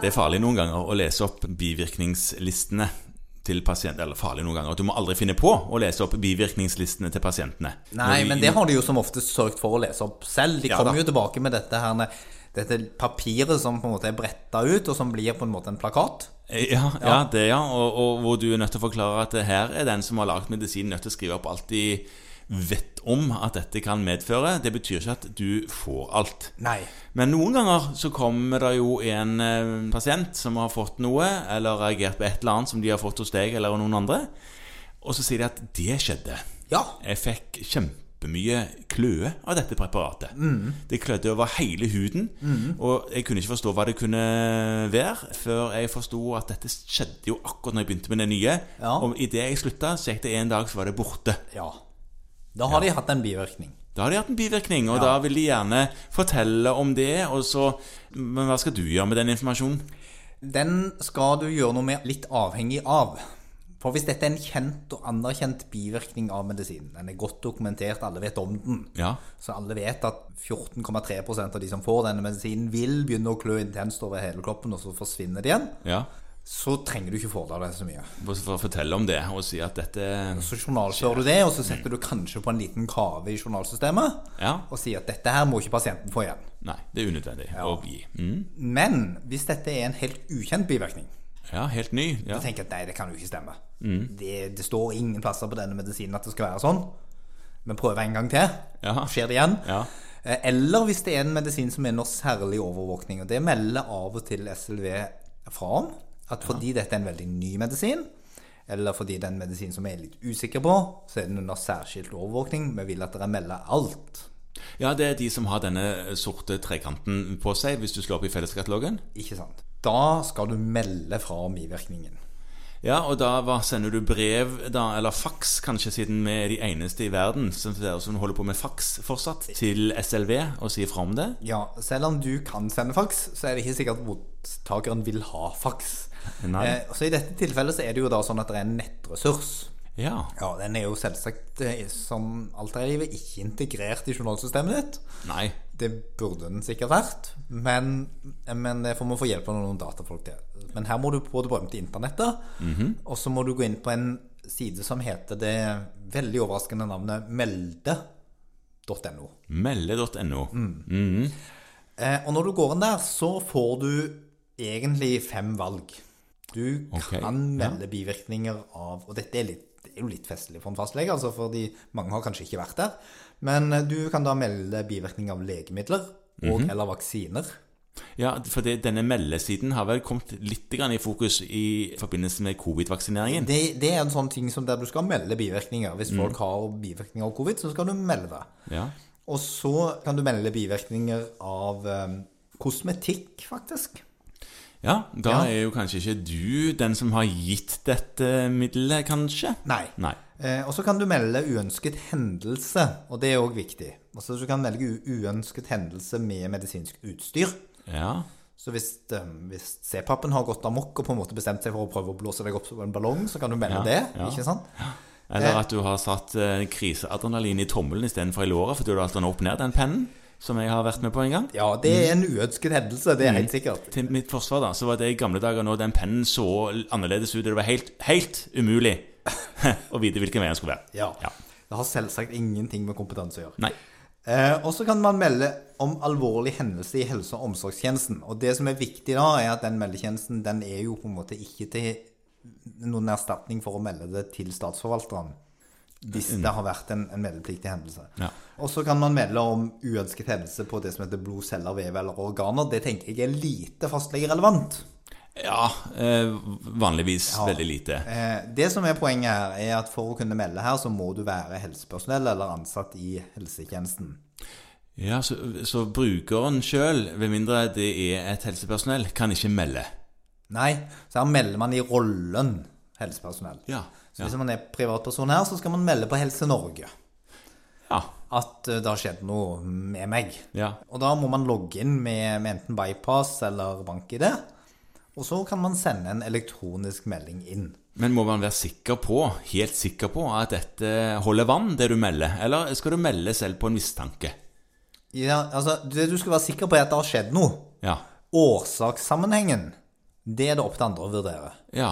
Det er farlig noen ganger å lese opp bivirkningslistene til pasienter. Eller farlig noen ganger. Du må aldri finne på å lese opp bivirkningslistene til pasientene. Nei, Når de- men det har de jo som oftest sørget for å lese opp selv. De Ja kommer da. jo tilbake med dette her dette papiret som på en måte er bretta ut, og som blir på en måte en plakat. Eh, Ja, ja, det ja. Og, og hvor du er nødt til å forklare at det her er den som har lagd medisinen, nødt til å skrive opp alt de vet om at dette kan medføre. Det betyr ikke at du får alt. Nei. Men noen ganger så kommer det jo en eh, pasient som har fått noe, eller reagert på et eller annet som de har fått hos deg eller noen andre, og så sier de at det skjedde. Ja. Jeg fikk kjempemye kløe av dette preparatet. Mm. Det klødde over hele huden, og jeg kunne ikke forstå hva det kunne være, før jeg forsto at dette skjedde jo akkurat når jeg begynte med det nye. Ja. Og idet jeg slutta, så gikk det en dag, så var det borte. ja. Da har de hatt en bivirkning. Da har de hatt en bivirkning, og da vil de gjerne fortelle om det, og så Men hva skal du gjøre med den informasjonen? Den skal du gjøre noe med litt avhengig av. For hvis dette er en kjent og anerkjent bivirkning av medisinen, den er godt dokumentert, alle vet om den, Ja. så alle vet at 14,3 av de som får denne medisinen, vil begynne å klø intenst over hele kroppen, og så forsvinner det igjen, ja. så trenger du ikke fordele deg så mye. Bare For å fortelle om det og si at dette Så journalfører du det, og så setter du kanskje på en liten kave i journalsystemet Ja. og sier at dette her må ikke pasienten få igjen. Nei, det er unødvendig å gi. Mm. Men hvis dette er en helt ukjent bivirkning, Ja, helt ny. Ja. så tenker jeg at nei, det kan jo ikke stemme. Det, det står ingen plasser på denne medisinen at det skal være sånn. Men prøv en gang til. Ja. Skjer det igjen? Ja. Eh, Eller hvis det er en medisin som er under særlig overvåkning. Og det melder av og til SLV fra om. At fordi dette er en veldig ny medisin, eller fordi det er en medisin som vi er litt usikre på, så er den under særskilt overvåkning. Vi vil at dere melder alt. Ja, det er de som har denne eh, sorte trekanten på seg, hvis du slår opp i felleskatalogen. Ikke sant? Da skal du melde fra om bivirkningen. Ja, og da hva, sender du brev, da, eller faks kanskje, siden vi er de eneste i verden som, som holder på med faks fortsatt, til SLV og sier fra om det. Ja, selv om du kan sende fax, så er det ikke sikkert mottakeren vil ha fax. Nei. Eh, så i dette tilfellet så er det jo da sånn at det er en nettressurs. Ja. Ja, den er jo selvsagt eh, som alternativet ikke integrert i journalsystemet ditt. Nei. Det burde den sikkert vært, men, men det får man få hjelp av noen datafolk til. Men her må du på det berømte internettet, og så må du gå inn på en side som heter det veldig overraskende navnet melde.no. Melde.no. Mm. Eh, og når du går inn der, så får du egentlig fem valg. Du Ok, kan melde bivirkninger av Og dette er, litt, det er jo litt festlig for en fastlege, altså fordi mange har kanskje ikke vært der. Men eh, du kan da melde bivirkninger av legemidler og eller vaksiner. Ja, for det, denne meldesiden har vel kommet litt grann i fokus i forbindelse med covid-vaksineringen. Det, det er en sånn ting som der du skal melde bivirkninger. Hvis folk har bivirkninger av covid, så skal du melde det. Ja. Og så kan du melde bivirkninger av eh, kosmetikk, faktisk. ja, da Ja. er jo kanskje ikke du den som har gitt dette middelet, kanskje? Nei. Nei. Eh, og så kan du melde uønsket hendelse, og det er òg viktig. Altså, du kan velge u- uønsket hendelse med medisinsk utstyr. Ja. Så hvis, eh, hvis C-pappen har gått amok og på en måte bestemt seg for å prøve å blåse deg opp som en ballong, så kan du Ja, melde det. ja. ikke sant? Eller at du har satt eh, kriseadrenalin i tommelen istedenfor i låret fordi du har hatt den opp ned, den pennen, som jeg har vært med på en gang. Ja, det er en uønsket hendelse, Mm. det er helt sikkert. Til mitt forsvar da, så var det i gamle dager når den pennen så annerledes ut, og det var helt, helt umulig å vite hvilken vei den skulle være. Ja. Det har selvsagt ingenting med kompetanse å gjøre. Nei. Eh, og så kan man melde om alvorlig hendelse i helse- og omsorgstjenesten. Og det som er viktig da, er at den meldetjenesten den er jo på en måte ikke til noen erstatning for å melde det til statsforvalteren. Hvis det har vært en, en meldepliktig hendelse. Ja. Og så kan man melde om uønsket hendelse på det som heter blod, celler, vev eller organer. Det tenker jeg er lite fastlegerelevant. Ja, eh, vanligvis veldig lite. Eh, Det som er poenget her, er at for å kunne melde her, så må du være helsepersonell eller ansatt i helsetjenesten. Ja, så, så brukeren sjøl, ved mindre det er et helsepersonell, kan ikke melde. Nei, så her melder man i rollen helsepersonell. Ja. Så Ja. hvis man er privatperson her, så skal man melde på Helse Norge ja. at eh, det har skjedd noe med meg. ja. Og da må man logge inn med, med enten bypass eller bank-ID. Og så kan man sende en elektronisk melding inn. Men må man være sikker på, helt sikker på, at dette holder vann, det du melder? Eller skal du melde selv på en mistanke? Ja, altså, det du skal være sikker på, er at det har skjedd noe. Ja. Årsakssammenhengen Det er det opp til andre å vurdere. Ja.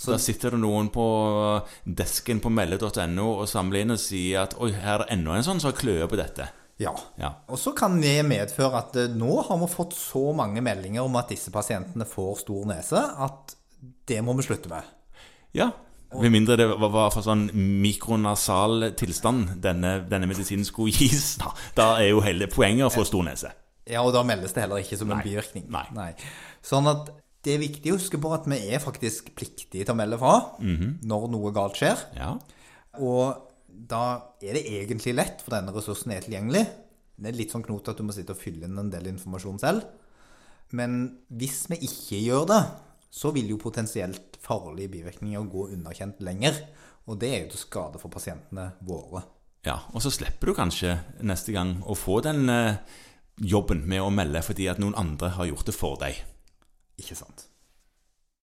Så da sitter det noen på desken på melde.no og samler inn og sier at oi, her er enda en sånn som har kløe på dette. Ja. Ja. Og så kan det medføre at eh, nå har vi fått så mange meldinger om at disse pasientene får stor nese, at det må vi slutte med. ja. Med mindre det var var for sånn mikronasal tilstand denne, denne medisinen skulle gis, da. Da er jo hele poenget å få stor nese. Ja, og da meldes det heller ikke som en bivirkning. Nei. Sånn at det er viktig å huske på at vi er faktisk pliktige til å melde fra Mhm. når noe galt skjer. Ja. Og da er det egentlig lett, for denne ressursen er tilgjengelig. Det er litt sånn knot at du må sitte og fylle inn en del informasjon selv. Men hvis vi ikke gjør det, så vil jo potensielt farlige bivirkninger gå underkjent lenger. Og det er jo til skade for pasientene våre. ja. Og så slipper du kanskje neste gang å få den eh, jobben med å melde fordi at noen andre har gjort det for deg. Ikke sant?